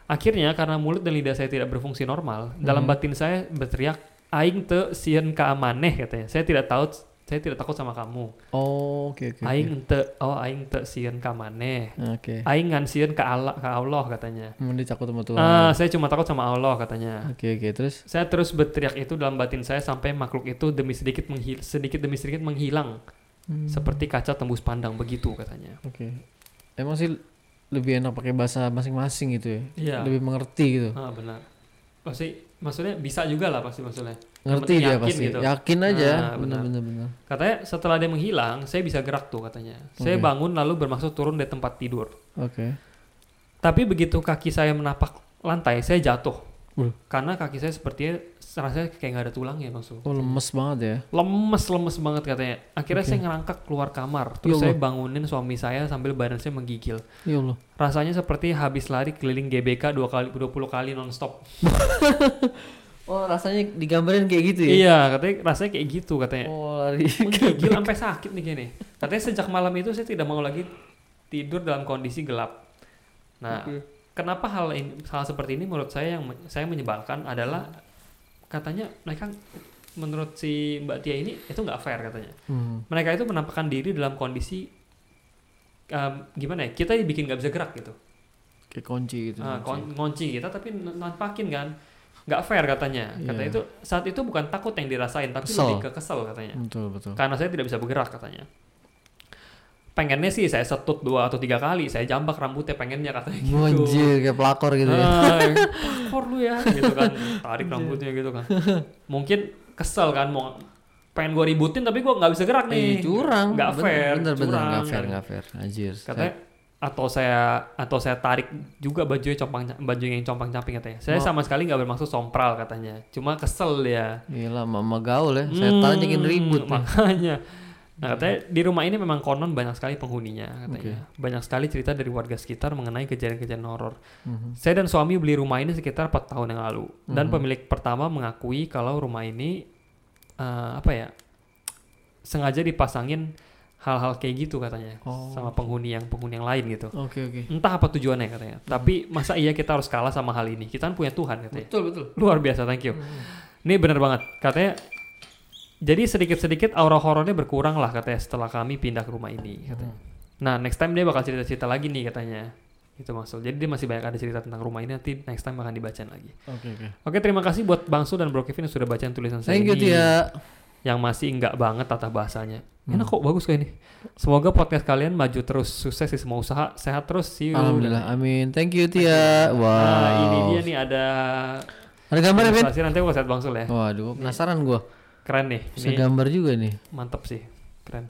Speaker 2: Akhirnya karena mulut dan lidah saya tidak berfungsi normal, dalam
Speaker 1: Hmm.
Speaker 2: batin saya berteriak aing te sieun ka maneh katanya. Saya tidak tahu saya tidak takut sama kamu.
Speaker 1: Oh, oke oke. oke.
Speaker 2: Aing te oh aing te sieun ka maneh.
Speaker 1: Oke.
Speaker 2: Aing ngan sieun ka Allah ka Allah katanya.
Speaker 1: Hmm, dia takut sama Tuhan.
Speaker 2: Ah, saya cuma takut sama Allah katanya.
Speaker 1: Oke oke terus.
Speaker 2: Saya terus berteriak itu dalam batin saya sampai makhluk itu demi sedikit menghil sedikit demi sedikit menghilang
Speaker 1: Hmm,
Speaker 2: seperti kaca tembus pandang begitu katanya.
Speaker 1: Oke. Emang sih lebih enak pakai bahasa masing-masing gitu ya.
Speaker 2: Iya.
Speaker 1: Lebih mengerti gitu.
Speaker 2: Ah benar. Pasti maksudnya bisa juga lah pasti maksudnya.
Speaker 1: Ngerti
Speaker 2: penting
Speaker 1: dia
Speaker 2: yakin
Speaker 1: pasti.
Speaker 2: gitu.
Speaker 1: Yakin aja. bener
Speaker 2: Nah, benar.
Speaker 1: bener bener.
Speaker 2: Katanya setelah dia menghilang, saya bisa gerak tuh katanya. Saya
Speaker 1: Oke.
Speaker 2: bangun lalu bermaksud turun dari tempat tidur.
Speaker 1: Oke.
Speaker 2: Tapi begitu kaki saya menapak lantai, saya jatuh.
Speaker 1: Uh.
Speaker 2: Karena kaki saya sepertinya rasanya kayak nggak ada tulangnya maksud.
Speaker 1: Oh lemes banget ya.
Speaker 2: Lemes lemes banget katanya. Akhirnya
Speaker 1: Oke.
Speaker 2: saya ngerangkak keluar kamar. Terus
Speaker 1: Ya
Speaker 2: saya bangunin suami saya sambil badan saya menggigil.
Speaker 1: Ya Allah.
Speaker 2: Rasanya seperti habis lari keliling GBK dua kali 20 kali nonstop.
Speaker 1: Oh rasanya digambarin kayak gitu ya.
Speaker 2: Iya, katanya rasanya kayak gitu katanya.
Speaker 1: Oh lari.
Speaker 2: menggigil sampai sakit nih kayaknya. Katanya sejak malam itu saya tidak mau lagi tidur dalam kondisi gelap. Nah,
Speaker 1: Oke.
Speaker 2: kenapa hal ini, hal seperti ini menurut saya yang men- saya menyebalkan adalah katanya mereka menurut si Mbak Tia ini itu nggak fair katanya.
Speaker 1: Hmm.
Speaker 2: Mereka itu menampakkan diri dalam kondisi um, gimana ya? Kita dibikin nggak bisa gerak gitu.
Speaker 1: Kayak kunci gitu.
Speaker 2: Ah,
Speaker 1: kunci.
Speaker 2: kon- ngunci kita tapi n- nampakin kan nggak fair katanya. Katanya
Speaker 1: Iya.
Speaker 2: itu saat itu bukan takut yang dirasain tapi
Speaker 1: Kesel.
Speaker 2: lebih ke kesel katanya
Speaker 1: Betul betul.
Speaker 2: karena saya tidak bisa bergerak katanya pengennya sih saya setut dua atau tiga kali saya jambak rambutnya pengennya katanya gitu
Speaker 1: Anjir kayak pelakor gitu ya.
Speaker 2: Ah, kor lu ya gitu kan tarik rambutnya gitu kan mungkin kesel kan mau pengen gue ributin tapi gue nggak bisa
Speaker 1: Ih,
Speaker 2: gerak nih
Speaker 1: curang.
Speaker 2: Eh, nggak
Speaker 1: Bener,
Speaker 2: fair
Speaker 1: Bener bener
Speaker 2: curang,
Speaker 1: nggak fair
Speaker 2: kan.
Speaker 1: nggak fair. Anjir.
Speaker 2: katanya atau saya atau saya tarik juga bajunya compang baju yang compang camping katanya saya
Speaker 1: Mau-
Speaker 2: sama sekali nggak bermaksud sompral katanya cuma kesel dia
Speaker 1: Gila mama gaul ya. Setan
Speaker 2: Hmm,
Speaker 1: nyekin ribut. nih.
Speaker 2: makanya nah katanya di rumah ini memang konon banyak sekali penghuninya katanya banyak sekali cerita dari warga sekitar mengenai kejadian-kejadian horor
Speaker 1: Mhm.
Speaker 2: saya dan suami beli rumah ini sekitar 4 tahun yang lalu dan
Speaker 1: Mhm.
Speaker 2: pemilik pertama mengakui kalau rumah ini eh, apa ya sengaja dipasangin hal-hal kayak gitu katanya
Speaker 1: Oh.
Speaker 2: sama penghuni yang penghuni yang lain gitu
Speaker 1: Oke oke.
Speaker 2: entah apa tujuannya katanya.
Speaker 1: Mhm.
Speaker 2: Tapi masa iya kita harus kalah sama hal ini? Kita kan punya Tuhan katanya.
Speaker 1: Betul betul.
Speaker 2: Luar biasa, thank you.
Speaker 1: Hmm.
Speaker 2: Ini benar banget. Katanya jadi sedikit-sedikit aura horornya berkurang lah katanya setelah kami pindah ke rumah ini katanya.
Speaker 1: Hmm.
Speaker 2: Nah, next time dia bakal cerita-cerita lagi nih katanya. Itu maksud. Jadi dia masih banyak ada cerita tentang rumah ini nanti next time akan dibacain lagi.
Speaker 1: Oke oke.
Speaker 2: Oke, terima kasih buat Bang Su dan Bro Kevin yang sudah bacaan tulisan saya
Speaker 1: Thank you
Speaker 2: ini
Speaker 1: Tia. Hmm.
Speaker 2: yang masih enggak banget tata bahasanya. Enak kok, bagus kok ini. Semoga podcast kalian maju terus, sukses di semua usaha, sehat terus. See you.
Speaker 1: Alhamdulillah. Amin. Thank you Tia. Wow.
Speaker 2: Nah, ini dia nih ada
Speaker 1: Ada gambar ya, Fit?
Speaker 2: ilustrasi nanti aku set Bang Sul ya.
Speaker 1: Waduh, penasaran gua.
Speaker 2: Keren nih. Ini
Speaker 1: Bisa gambar juga nih.
Speaker 2: mantep sih. Keren.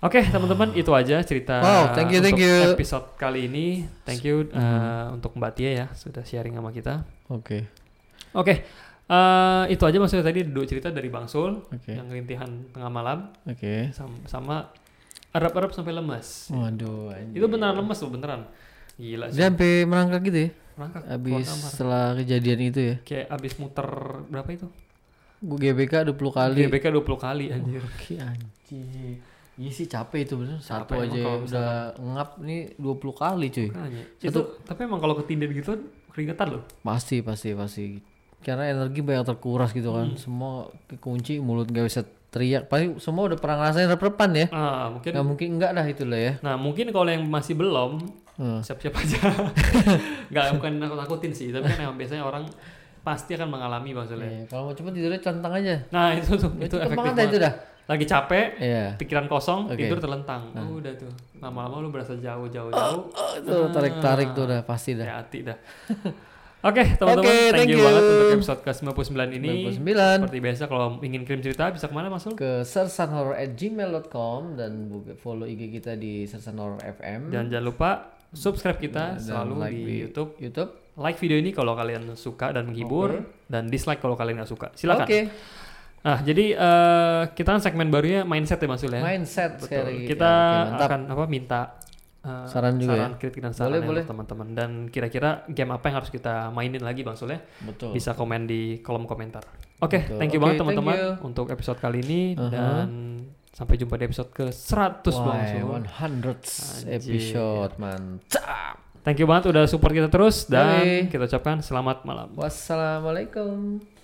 Speaker 2: Oke, teman-teman, itu aja cerita
Speaker 1: Wow, thank you,
Speaker 2: untuk
Speaker 1: thank you. mm-hmm.
Speaker 2: episode kali ini. Thank you uh, untuk Mbak Tia ya sudah sharing sama kita.
Speaker 1: Oke.
Speaker 2: Oke. eh, itu aja maksudnya tadi dua cerita dari Bang Sul
Speaker 1: Oke.
Speaker 2: yang rintihan tengah malam
Speaker 1: Oke.
Speaker 2: sam- sama erap-erap sampai lemes.
Speaker 1: Waduh. anjing.
Speaker 2: Itu beneran lemes loh, beneran. Gila sih.
Speaker 1: Dia sampai merangkak gitu ya.
Speaker 2: Merangkak keluar
Speaker 1: Abis
Speaker 2: kamar.
Speaker 1: setelah kejadian itu ya.
Speaker 2: kayak abis muter berapa itu?
Speaker 1: Gua GBK 20 kali.
Speaker 2: GBK 20 kali anjir.
Speaker 1: Ki anjing. Iya sih capek itu bener. Satu
Speaker 2: Capek emang
Speaker 1: aja
Speaker 2: kalau
Speaker 1: udah ngap nih 20 kali cuy.
Speaker 2: Makanya.
Speaker 1: Iya. Satu-
Speaker 2: Itu tapi emang kalau ketindihan gitu keringetan loh.
Speaker 1: Pasti pasti pasti. Karena energi banyak terkuras gitu kan.
Speaker 2: Hmm.
Speaker 1: Semua kekunci mulut gak bisa teriak. Pasti semua udah pernah ngerasain rep-repan ya.
Speaker 2: Ah, mungkin
Speaker 1: Gak mungkin enggak dah itu lah ya.
Speaker 2: Nah, mungkin kalau yang masih belum
Speaker 1: Hmm.
Speaker 2: siap-siap aja. Nggak bukan nakut-nakutin sih, tapi kan emang biasanya orang pasti akan mengalami Bang Sule.
Speaker 1: Iya, kalau mau cepet tidurnya centang aja.
Speaker 2: Nah, itu tuh
Speaker 1: Udah
Speaker 2: itu
Speaker 1: cepet
Speaker 2: efektif
Speaker 1: banget dah
Speaker 2: banget.
Speaker 1: itu dah.
Speaker 2: Lagi capek,
Speaker 1: Iya.
Speaker 2: pikiran kosong,
Speaker 1: Oke. Nah.
Speaker 2: tidur terlentang. Oh, Udah tuh. Lama-lama lu berasa jauh-jauh jauh.
Speaker 1: Oh, itu
Speaker 2: Ah.
Speaker 1: tarik-tarik tuh dah pasti dah.
Speaker 2: Ya hati dah. Oke, teman-teman,
Speaker 1: Oke,
Speaker 2: thank,
Speaker 1: thank
Speaker 2: you banget
Speaker 1: you.
Speaker 2: untuk episode ke-99 ini.
Speaker 1: 99
Speaker 2: Seperti biasa kalau ingin kirim cerita bisa kemana Mas Sul?
Speaker 1: ke sersanhorror@gmail.com dan buka follow IG kita di sersanhorror FM
Speaker 2: Dan jangan lupa subscribe kita selalu
Speaker 1: Hmm. like
Speaker 2: di, YouTube.
Speaker 1: YouTube.
Speaker 2: Like video ini kalau kalian suka dan menghibur dan dislike kalau kalian nggak suka. Silakan.
Speaker 1: Oke,
Speaker 2: Nah, jadi eh, kita kan segmen barunya mindset ya Mas Ul ya.
Speaker 1: mindset sekali lagi.
Speaker 2: Kita
Speaker 1: Ya, oke, mantap.
Speaker 2: akan apa minta eh,
Speaker 1: Saran juga ya?
Speaker 2: kritik dan
Speaker 1: Boleh,
Speaker 2: saran ya
Speaker 1: boleh.
Speaker 2: untuk teman-teman dan kira-kira game apa yang harus kita mainin lagi Bang Sul ya?
Speaker 1: Betul.
Speaker 2: Bisa komen di kolom komentar. Oke,
Speaker 1: Betul.
Speaker 2: thank you
Speaker 1: Oke,
Speaker 2: banget
Speaker 1: thank
Speaker 2: teman-teman
Speaker 1: you.
Speaker 2: untuk episode kali ini
Speaker 1: Uh-huh.
Speaker 2: dan sampai jumpa di episode ke 100 Bang
Speaker 1: Why,
Speaker 2: Sul.
Speaker 1: 100
Speaker 2: Anjir.
Speaker 1: episode, mantap.
Speaker 2: Thank you banget udah support kita terus dan
Speaker 1: Yoi.
Speaker 2: kita ucapkan selamat malam.
Speaker 1: Wassalamualaikum.